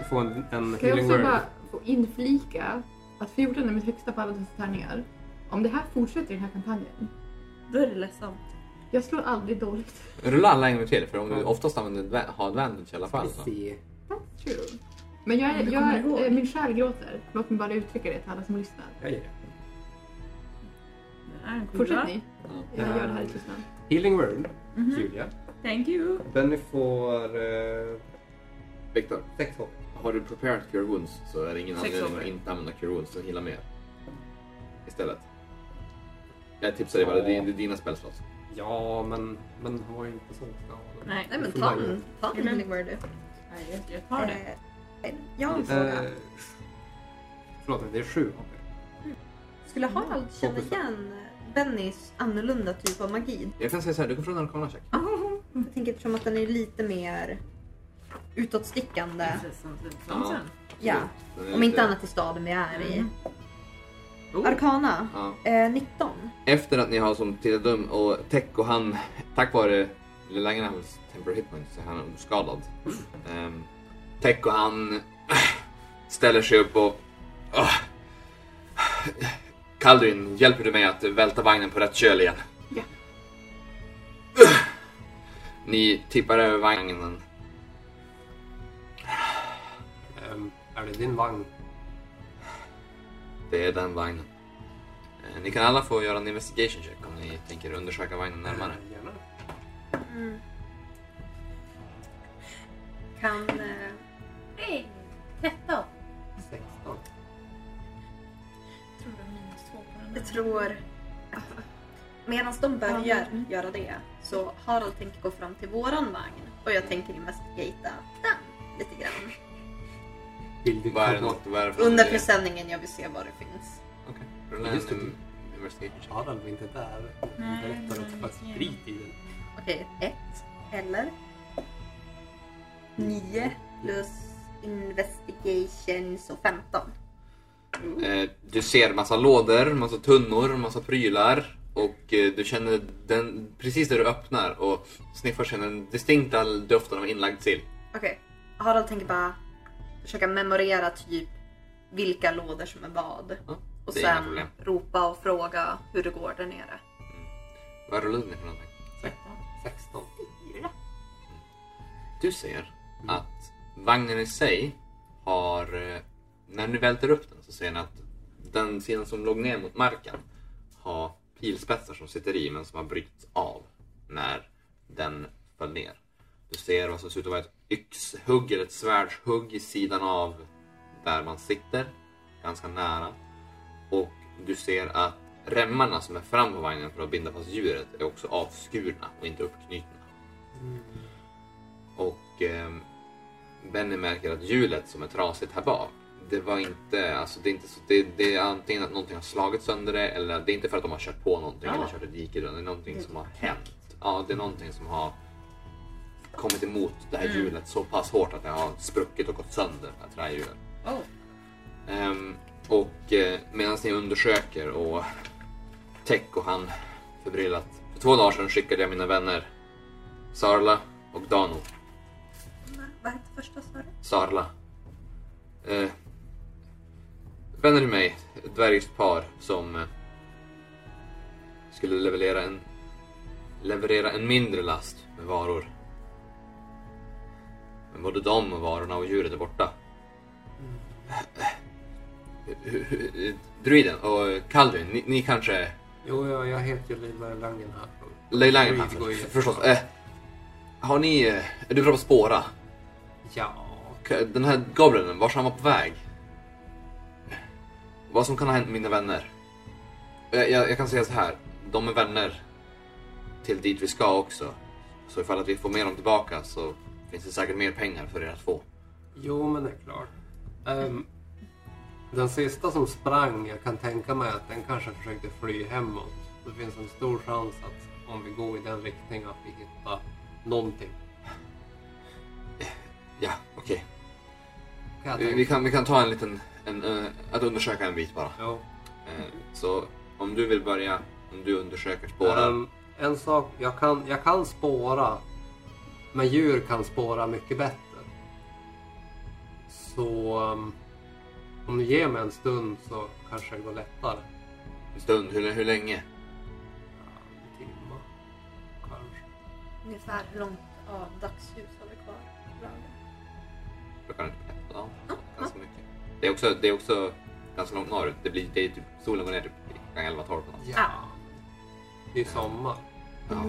Du får en, en Kan Mhm. jag healing också word. bara få inflika att 14 är mitt högsta på alla dessa tärningar. Om det här fortsätter i den här kampanjen. Då är det ledsamt. Jag slår aldrig dåligt. Rulla alla en gång till för om du oftast använder adva- har advantage i alla fall. Så. Se. That's true. Men jag, är, Men du jag, kommer är- ihåg. eh, min själ gråter. Låt mig bara uttrycka det till alla som lyssnar. Jag ger det. Det är en Fortsätt sjua. ni. Ja. Jag gör det här i tystnad. Healing word, Mhm. Julia. Thank you. Benny får eh, Viktor, sex hopp. har du prepared cure wounds så är det ingen Sex anledning over. att inte använda cure wounds och hila mer. Istället. Jag tipsar dig bara, det är det är dina spelslott. Ja, men, men han var ju inte så skadad. Nej, Nej men ta den. Ta den Mm. Healing Word. nej, jag- jag tar det. Eh, Jag har en fråga. Eh, förlåt, det är sju hopp. Skulle Harald känna Fokus då. igen Bennys annorlunda typ av magi? Mm. Jag kan säga så här, du kan få en arkana check. Jag tänker eftersom att den är lite mer utåtstickande. Precis som som- som Ja. sen. Ja, Den är om lite- inte annat i staden vi är i. Mm. Oh. Arkana, Ja. eh, 19. Efter att ni har som Tidadum och Tech och han, tack vare Lillangen hans temporary hitpoint så är han oskadad. Um, Tech och han ställer sig upp och... Oh. Kaldrin, hjälper du mig att välta vagnen på rätt köl igen? Ja. Ni tippar över vagnen. Ehm, är det din vagn? Det är den vagnen. Eh, Ni kan alla få göra en investigation check om ni tänker undersöka vagnen närmare. Eh, Gärna. Mm. Kan... Eh, Hey, 13. 16. Tror du minus två på den jag tror... Medan de börjar mm. göra det så Harald tänker gå fram till våran vagn och jag tänker investigata den lite grann. Vill du Vad är det komma- något? Vad är det för Under något? presenningen jag vill se vad det finns. Okej. Rulla Just det. en investigation check. Harald var inte där. Nej, Berättar att men- det var sprit i den. Okej, ett eller? Nio plus investigation så 15. Eh, Du ser massa lådor, massa tunnor, massa prylar och eh, du känner den precis där du öppnar och sniffar känner den distinkta doften av inlagd sill. Okej. Harald tänker bara försöka memorera typ vilka lådor som är vad. Ja, Och det är inga sen problem. ropa och fråga hur det går där nere. Vad rullade ni för någonting? 16. Du ser att vagnen i sig har, eh, när ni välter upp den så ser ni att den sidan som låg ner mot marken har pilspetsar som sitter i men som har brytts av när den föll ner. Du ser vad som ser ut att vara ett yxhugg eller ett svärdshugg i sidan av där man sitter, ganska nära. Och du ser att remmarna som är fram på vagnen för att binda fast djuret är också avskurna och inte uppknutna. Och eh, Benny märker att hjulet som är trasigt här bak, det var inte, alltså det är inte så, det, det är antingen att någonting har slagit sönder det eller det är inte för att de har kört på någonting Ja. eller kört ett dike utan Ah. det är någonting som har hänt. Ja, det är någonting som har kommit emot det här hjulet så pass hårt att det har spruckit och gått sönder, det här trähjulet. Oh. Ehm, och eh, medan ni undersöker och Tech och han förbryllat. För två dagar sedan skickade jag mina vänner Sarla och Dano. Vad hette första svaret? Sarla. Eh, vänner till mig, ett dvärgiskt par som eh, skulle leverera en, leverera en mindre last med varor. Men både de och varorna och djuret är borta. Eh, Druiden och eh, Kaldun, ni, ni kanske... Jo, jag, jag heter ju Lilla Langen här. Lejlangen Druid går ju- förstås. Eh, har ni... eh, Är du bra på att spåra? Ja. K- Den här goblinen, vars han var på väg. Vad som kan ha hänt mina vänner. Jag, jag, jag kan säga så här. De är vänner till dit vi ska också. Så ifall att vi får med dem tillbaka så finns det säkert mer pengar för er att få. Jo, men det är klart. Ehm, den sista som sprang, jag kan tänka mig att den kanske försökte fly hemåt. Det finns en stor chans att om vi går i den riktningen att vi hittar någonting. Ja, okej. Kan jag Vi, tänka vi, mig. kan, vi kan ta en liten... En, eh, att undersöka en bit bara. Ja. Eh, så om du vill börja, om du undersöker, spårar. Ehm, en sak, jag kan, jag kan spåra, men djur kan spåra mycket bättre. Så ehm, om du ger mig en stund så kanske det går lättare. En stund, hur, hur länge? En timme, kanske. Ungefär hur långt av dagsljus har vi kvar? Klockan är typ ett, ja, ganska mycket. Det är, också, det är också ganska långt norrut. Det blir, det är typ, solen går ner typ klockan 11-12 på natten. Ja. Det är sommar. Ja.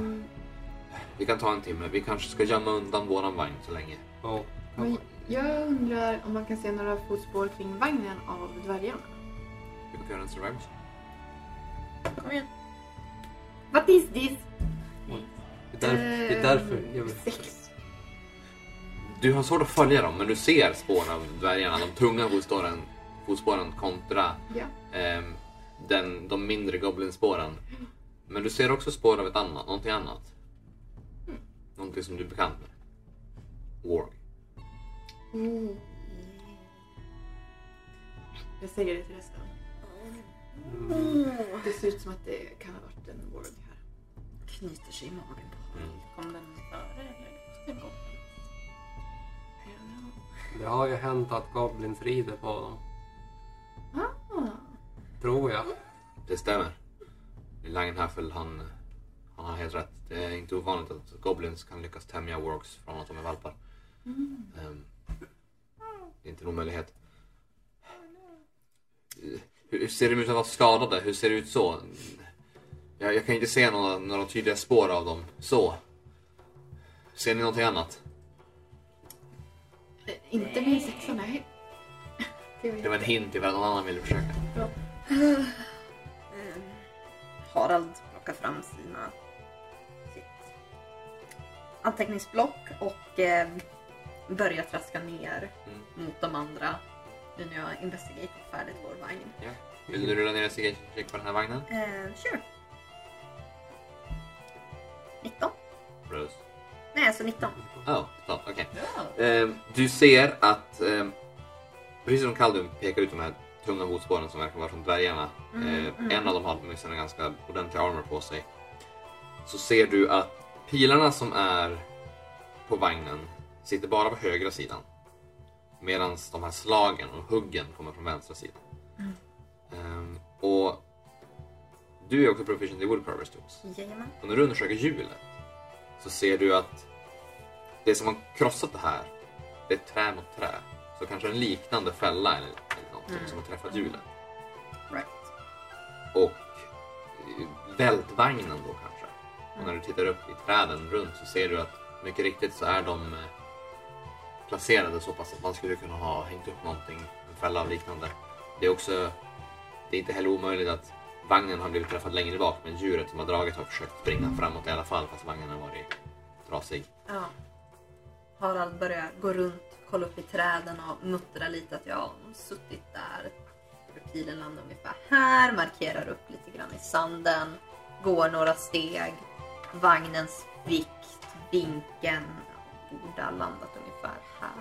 Vi kan ta en timme. Vi kanske ska gömma undan våran vagn så länge. Ja. Men jag undrar om man kan se några fotspår kring vagnen av dvärgarna? Vi kan göra en survival check. Kom igen. What is this? Det är, därför, det är därför jag vill... Sex. Du har svårt att följa dem, men du ser spår av dvärgarna. De tunga fotspåren, fotspåren kontra Ja. ehm, den, de mindre goblinspåren. Men du ser också spår av ett annat, någonting annat. Någonting som du är bekant med. Warg. Mm. Jag säger det till resten. Det ser ut som att det kan ha varit en warg här. Knyter sig i magen på Mm. Kom den före eller? Den kom. I don't Det har ju hänt att Goblins rider på dem. know. Ah. Tror jag. Det stämmer. Langenhaffel, han, han har helt rätt. Det är inte ovanligt att goblins kan lyckas tämja wargs från att de är valpar. Ehm, det är inte en omöjlighet. Eh, Hur ser de ut att vara skadade? Hur ser det ut så? Jag, jag kan inte se några, några tydliga spår av dem. Så. Ser ni någonting annat? Eh, Inte min sexa, nej. Det var Det var en hint ifall någon annan ville försöka. Eh, Harald plockar fram sina sitt anteckningsblock och eh, börjar traska ner Mm. mot de andra. Nu när jag har investigatat färdigt vår vagn. Vill du rulla ner en check på den här vagnen? Eh, sure. 19? Rose. Nej, alltså 19. Ja, oh, okej. Eh, du ser att, eh, precis som Kaldum pekar ut de här tunga fotspåren som verkar vara från dvärgarna. eh, En av dem har åtminstone ganska ordentlig armor på sig. Så ser du att pilarna som är på vagnen sitter bara på högra sidan. Medan de här slagen och huggen kommer från vänstra sidan. Ehm, och du är också proficient i woodcarvers tools. Jajamän. Och när du undersöker hjulet så ser du att det som har krossat det här, det är trä mot trä. Så kanske en liknande fälla eller, eller någonting som har träffat hjulet. Right. Och eh, vältvagnen då kanske. Och när du tittar upp i träden runt så ser du att mycket riktigt så är de eh, placerade så pass att man skulle kunna ha hängt upp någonting, en fälla och liknande. Det är också, det är inte heller omöjligt att vagnen har blivit träffad längre bak men djuret som har dragit har försökt springa framåt i alla fall fast vagnen har varit trasig. Ja. Harald börjar gå runt, kolla upp i träden och muttra lite att jag har suttit där. Pilen landar ungefär här, markerar upp lite grann i sanden, går några steg. Vagnens vikt, vinkeln, borde ha landat ungefär här.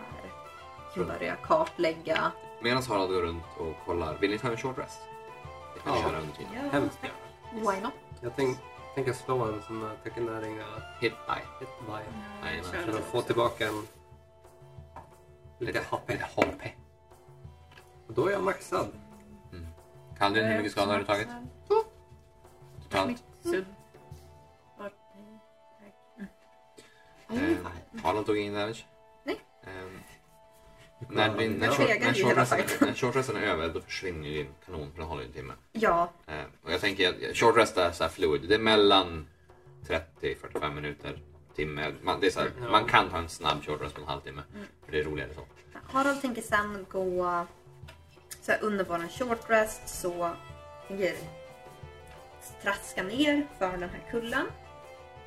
Jag börjar kartlägga. Medan Harald går runt och kollar, vill ni ta en short rest? Det kan ni Ja. göra under tiden. Hemskt gärna. Why not? Jag tänk- tänker slå en sån här tekinäringa Hit by. hitbuy. Nej, kör. För att få tillbaka en... Lite happy. Lite HP. Och då är jag maxad. Kan du hur mycket skada har du tagit? Mm. Totalt. Så vart Ja, det är Ehm, fine. Harald tog ingen damage. Nej. Ehm, när din, när, Jag short, fegar när, ju hela shortresten, fighten. när shortresten är över då försvinner ju din kanon för den håller ju en timme. Ja, Ehm, och jag tänker att shortrest är så här fluid. Det är mellan 30-45 minuter, timme. Man, det är så här, Ja. man kan ta en snabb shortrest på en halvtimme. För det är roligare så. Harald tänker sen gå så här, under våran short rest så tänker traska ner för den här kullen.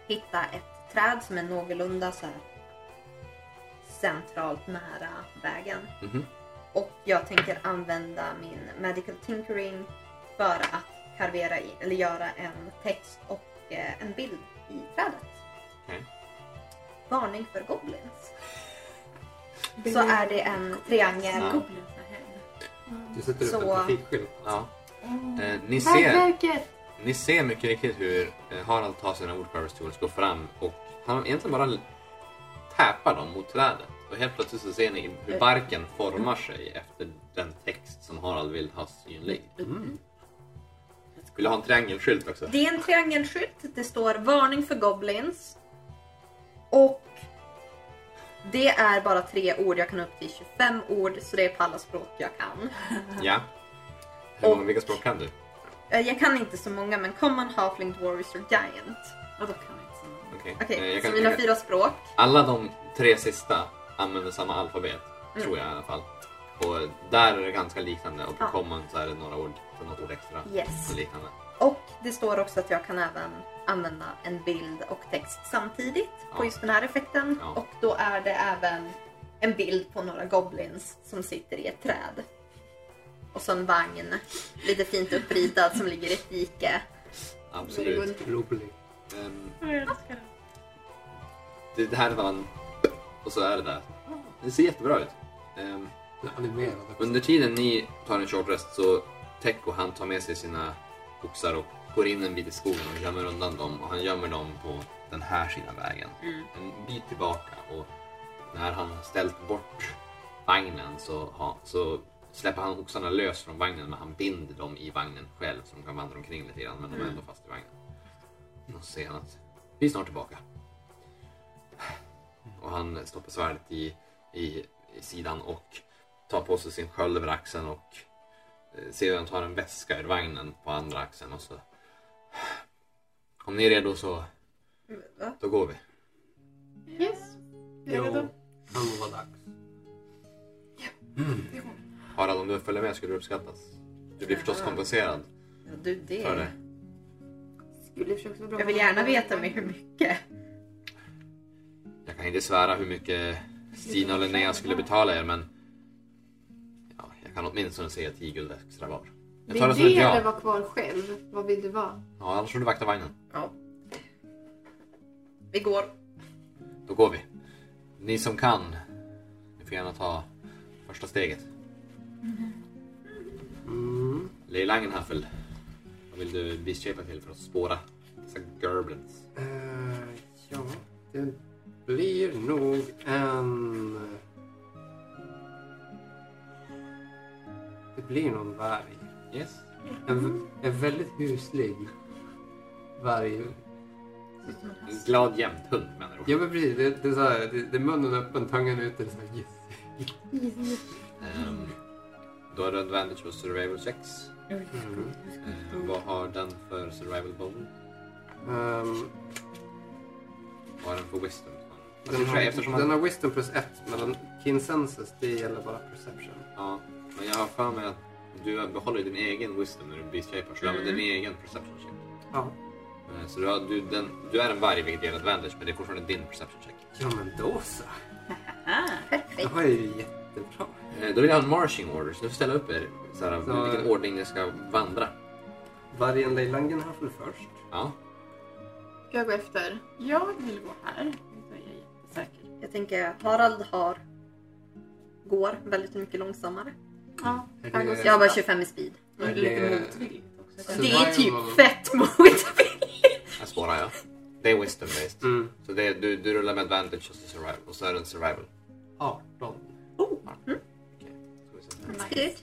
Hitta ett träd som är någorlunda så här centralt nära vägen. Mhm. Och jag tänker använda min Magical Tinkering för att karvera i, eller göra en text och eh, en bild i trädet. Okej. Varning för goblins. Det- Så är det en triangel. Ja. Goblins are hell. Du sätter upp Så- en trafikskylt. Ja. Eh, ni ser... Hantverket! Ni ser mycket riktigt hur eh, Harald tar sina Woodcarvers tools, går fram och han egentligen bara l- täpar dem mot trädet. Och helt plötsligt så ser ni hur barken formar sig efter den text som Harald vill ha synlig. Vill du ha en triangelskylt också? Det är en triangelskylt. Det står varning för goblins. Och det är bara tre ord. Jag kan upp till 25 ord så det är på alla språk jag kan. Ja. Hur många, vilka språk kan du? Eh, Jag kan inte så många men common, halfling, dwarves och giant. Ja, då kan jag inte så många. Okej. Okej, Eh, jag så kan- mina jag kan- fyra språk. Alla de tre sista använder samma alfabet, Mm. tror jag i alla fall. Och där är det ganska liknande och på Ja. common så är det några ord, så något ord extra. Yes. Och liknande. Och det står också att jag kan även använda en bild och text samtidigt på Ja. just den här effekten. Ja. Och då är det även en bild på några goblins som sitter i ett träd. Och så en vagn, lite fint uppritad, som ligger i ett dike. Absolut. Rolig. Ehm, Jag älskar den. Det, det här är bara en... Och så är det där. Det ser jättebra ut. Ehm, Den är Animerad också. under tiden ni tar en short rest så Teko han tar med sig sina oxar och går in en bit i skogen och gömmer undan dem. Och han gömmer dem på den här sidan vägen. En bit tillbaka och när han har ställt bort vagnen så, ha, så släpper han oxarna lös från vagnen men han binder dem i vagnen själv så de kan vandra omkring lite grann men de är ändå fast i vagnen. Och så ser han att vi är snart tillbaka. Och han stoppar svärdet i, i, i sidan och tar på sig sin sköld över axeln och eh, ser hur han tar en väska ur vagnen på andra axeln och så... Om ni är redo så, Va? då går vi. Yes. Jag är Jo, redo. han var dags. Harald, om du följer med skulle du uppskattas. Du blir förstås kompenserad Ja, du, det. för det. Skulle försöka vara bra. Jag vill gärna veta med hur mycket. Jag kan inte svära hur mycket Stina och Linnea skulle betala er, men... Ja, jag kan åtminstone säga 10 guld extra var. Jag Vill tar det som ett du eller ja. vara kvar själv? Vad vill du vara? Ja, annars får du vakta vagnen. Ja. Vi går. Då går vi. Ni som kan, ni får gärna ta första steget. Mm. Leilangen Haffel, vad vill du biskapa till för att spåra dessa gerblins? Eh, ja, det blir nog en... Det blir någon varg. Yes. En, en väldigt huslig varg. En glad jämthund menar du? Ja men precis, det, det är så här, det, det är munnen öppen, tungan ute. Det är så här, yes. Ehm, då har du advantage på survival checks. Oj, Mm. Ehm, vad har den för survival bone? Ehm, Vad har den för wisdom? Alltså, den, har, eftersom den han, har wisdom plus ett, men den, kinsensus det gäller bara perception. ja, men jag har för mig att du behåller din egen wisdom när du biskapar, så du använder din egen perception check. Mm. Ja. Ehm, Så du, har, du, den, du är en varg vilket ger advantage, men det är fortfarande din perception check. Ja men då så. Det Perfekt. här är ju jättebra. Ehm, Då vill jag ha en marching order, så nu ställer jag upp er så här, Så- vilken ordning ni ska vandra. Vargen Leilangen har väl först. Ja. Jag går efter. Jag vill gå här. Då är jag jättesäker. Jag tänker Harald har går väldigt mycket långsammare. Ja, Är jag går det- sist. Jag har bara 25 i speed. Och Är lite det- motvilligt också. Det är Survival. typ fett motvilligt. Jag spårar jag. Det är wisdom based. Mm. Så det är, du, du rullar med advantage och så, survival, och så är det en survival. 18. Ska vi se. Nice.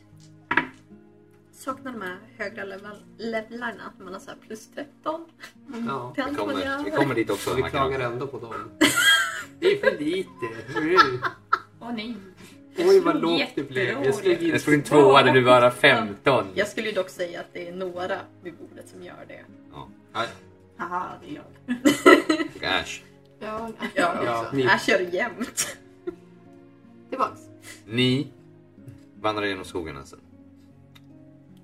Saknar de här högre level- levlarna, att man har så här plus 13 Ja. till Vi allt man kommer, vi gör. kommer dit också. Så vi Mackan. klagar ändå på dem. Det är för lite. Mm. Åh nej. Oj vad lågt det blev. Jag slog in Jag slog en tvåa när du var 15. Jag skulle ju dock säga att det är några vid bordet som gör det. Ja. Aj, Haha, det är jag. fick Ash. Jag Ja, Ja, också. ni- Här kör det jämt. tillbaks. Ni vandrar genom skogen alltså.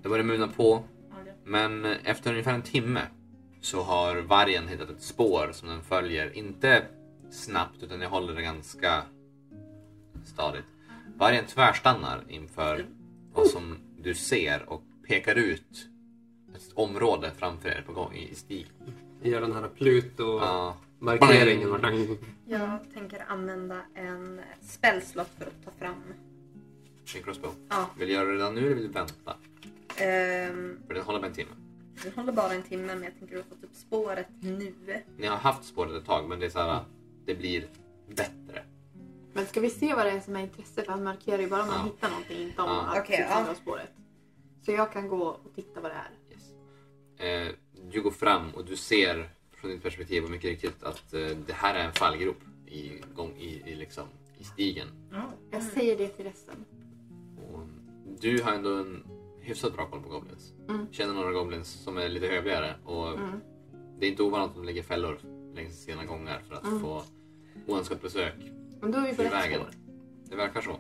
Det börjar muna på Ja, det- Men efter ungefär en timme så har vargen hittat ett spår som den följer. Inte snabbt utan den håller det ganska stadigt. Vargen tvärstannar inför vad som du ser och pekar ut ett område framför er på gång i i stig. Gör den här Pluto-markeringen. Ja. Jag tänker använda en spellslott för att ta fram. Din crossbow. Ja. Vill du göra det redan nu eller vill du vänta? Ehm, För den håller på en timme. den håller bara en timme men jag tänker att få upp spåret nu. Ni har haft spåret ett tag men det är så här, det blir bättre. Men ska vi se vad det är som är intresse? För han markerar ju bara om man Ja. hittar någonting, inte om Ja. att Okej, liksom ja. dra spåret. Så jag kan gå och titta vad det är. Yes. Eh, du går fram och du ser från ditt perspektiv och mycket riktigt att eh, det här är en fallgrop i, gång, i, i, liksom, i stigen. Ja. Jag Mm. säger det till resten. Och du har ändå en hyfsat bra koll på goblins. Mm. Känner några goblins som är lite hövligare. Och Mm. Det är inte ovanligt att de lägger fällor längs sina gångar för att Mm. få oönskat besök Men då är vi på ur rätt vägen. spår. Det verkar så.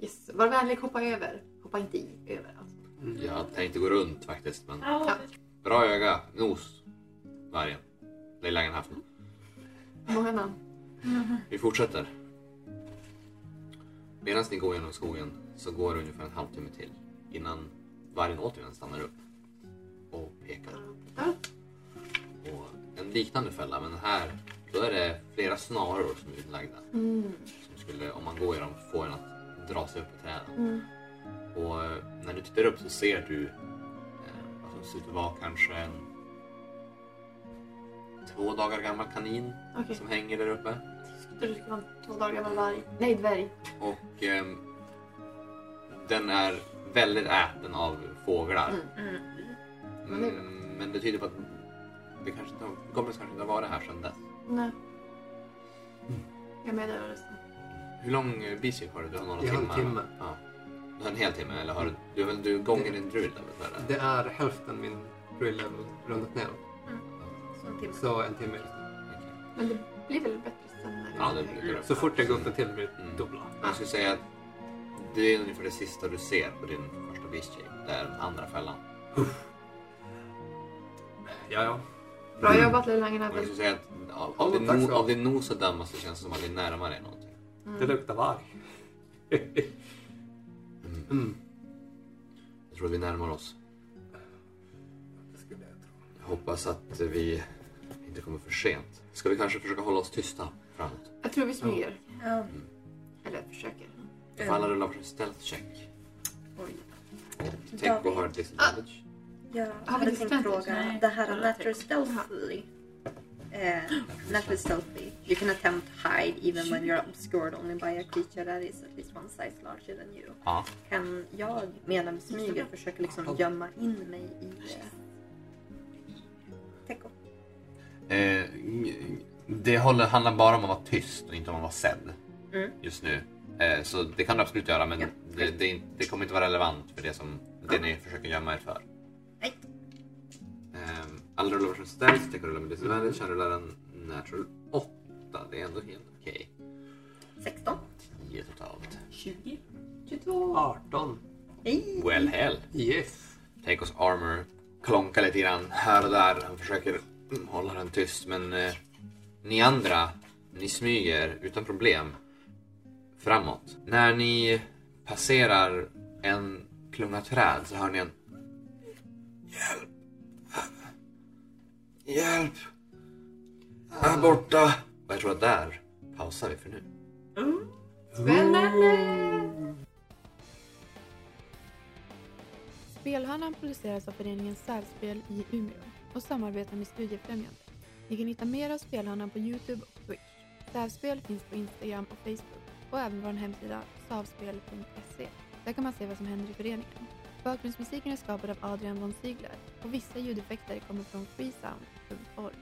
Yes. Var vänlig, hoppa över. Hoppa inte i, över. Alltså. Jag tänkte gå runt faktiskt men Ja. bra öga, nos, vargen. Lilla haft. Många namn. Vi fortsätter. Medan ni går genom skogen så går det ungefär en halvtimme till innan vargen återigen stannar upp och pekar. Och en liknande fälla, men här då är det flera snaror som är utlagda. Mm. Som skulle, om man går i dem, få en att dra sig upp i träden. Mm. Och eh, när du tittar upp så ser du eh, vad som ser ut att vara kanske en två dagar gammal kanin Okej, som hänger där uppe. jag trodde det skulle vara två dagar gammal varg. Nej, dvärg. Och ehm, den är väldigt äten av fåglar. Mm. Mm, men det tyder på att det kanske inte har, Goblins kanske inte har varit här sedan dess. Nej. Jag meddelar resten. Hur lång bisik har du? Du har några Jag har en timmar? timme. va? Ja. Du har en hel timme? Eller har du, du, har väl- du gånger din druid? Eller? vad är det? Det är hälften min rull-level rundat ner. Så en timme. Så en timme just nu. Okej. Men det blir väl bättre sen när Ja, det blir bra. Så fort jag går upp en till blir Mm. det dubbla. Men Jag skulle säga att det är ungefär det sista du ser på din första bisik. Det är den andra fällan. Ja, ja. Bra jobbat Lilla Och jag Langenabel. skulle säga att av, av, Ja, din, tack no, så. av din nos att döma så känns det som att det är närmare någonting. Det luktar varg. Mm. Mm. Jag tror att vi närmar oss. Det skulle jag tro. Jag hoppas att vi inte kommer för sent. Ska vi kanske försöka hålla oss tysta framåt? Jag tror vi smyger. Ja. Eller försöker. Får alla rulla för en stealth check? Oj. Och Take och har disadvantage. Jag vi hade inte tänkt stämt oss? fråga. Nej. Det här är natural typ. stealthy. Eh, natural stealthy. You can attempt to hide even when you're obscured only by a creature that is at least one size larger than you. Ja. Kan jag medan vi smyger försöka liksom gömma in mig i eh, Teko? Eh, det håller, handlar bara om att vara tyst och inte om att vara sedd Mm. just nu. Eh, så det kan du absolut göra men Ja. det, det, är inte- det kommer inte vara relevant för det, som, det ni försöker gömma er för. Nej. Eh, alla rullar varsin stealth, Take rullar med disadvantage, han rullar en natural 8. Det är ändå helt okej. 16? 10 totalt. 20. 22. 18. Hej! Well hell. Yes. Tekos armor klonkar lite grann här och där. Han försöker mm, hålla den tyst men eh, ni andra, ni smyger utan problem framåt. När ni passerar en klunga träd så hör ni en Hjälp! Hjälp! Här borta! Och jag tror att där pausar vi för nu. Mm. Spännande! Spelhörnan produceras av föreningen Särspel i Umeå och samarbetar med Studiefrämjandet. Ni kan hitta mer av Spelhörnan på Youtube och Twitch. Särspel finns på Instagram och Facebook och även vår hemsida savspel.se. Där kan man se vad som händer i föreningen. Bakgrundsmusiken är skapad av Adrian von Ziegler och vissa ljudeffekter kommer från freesound.org.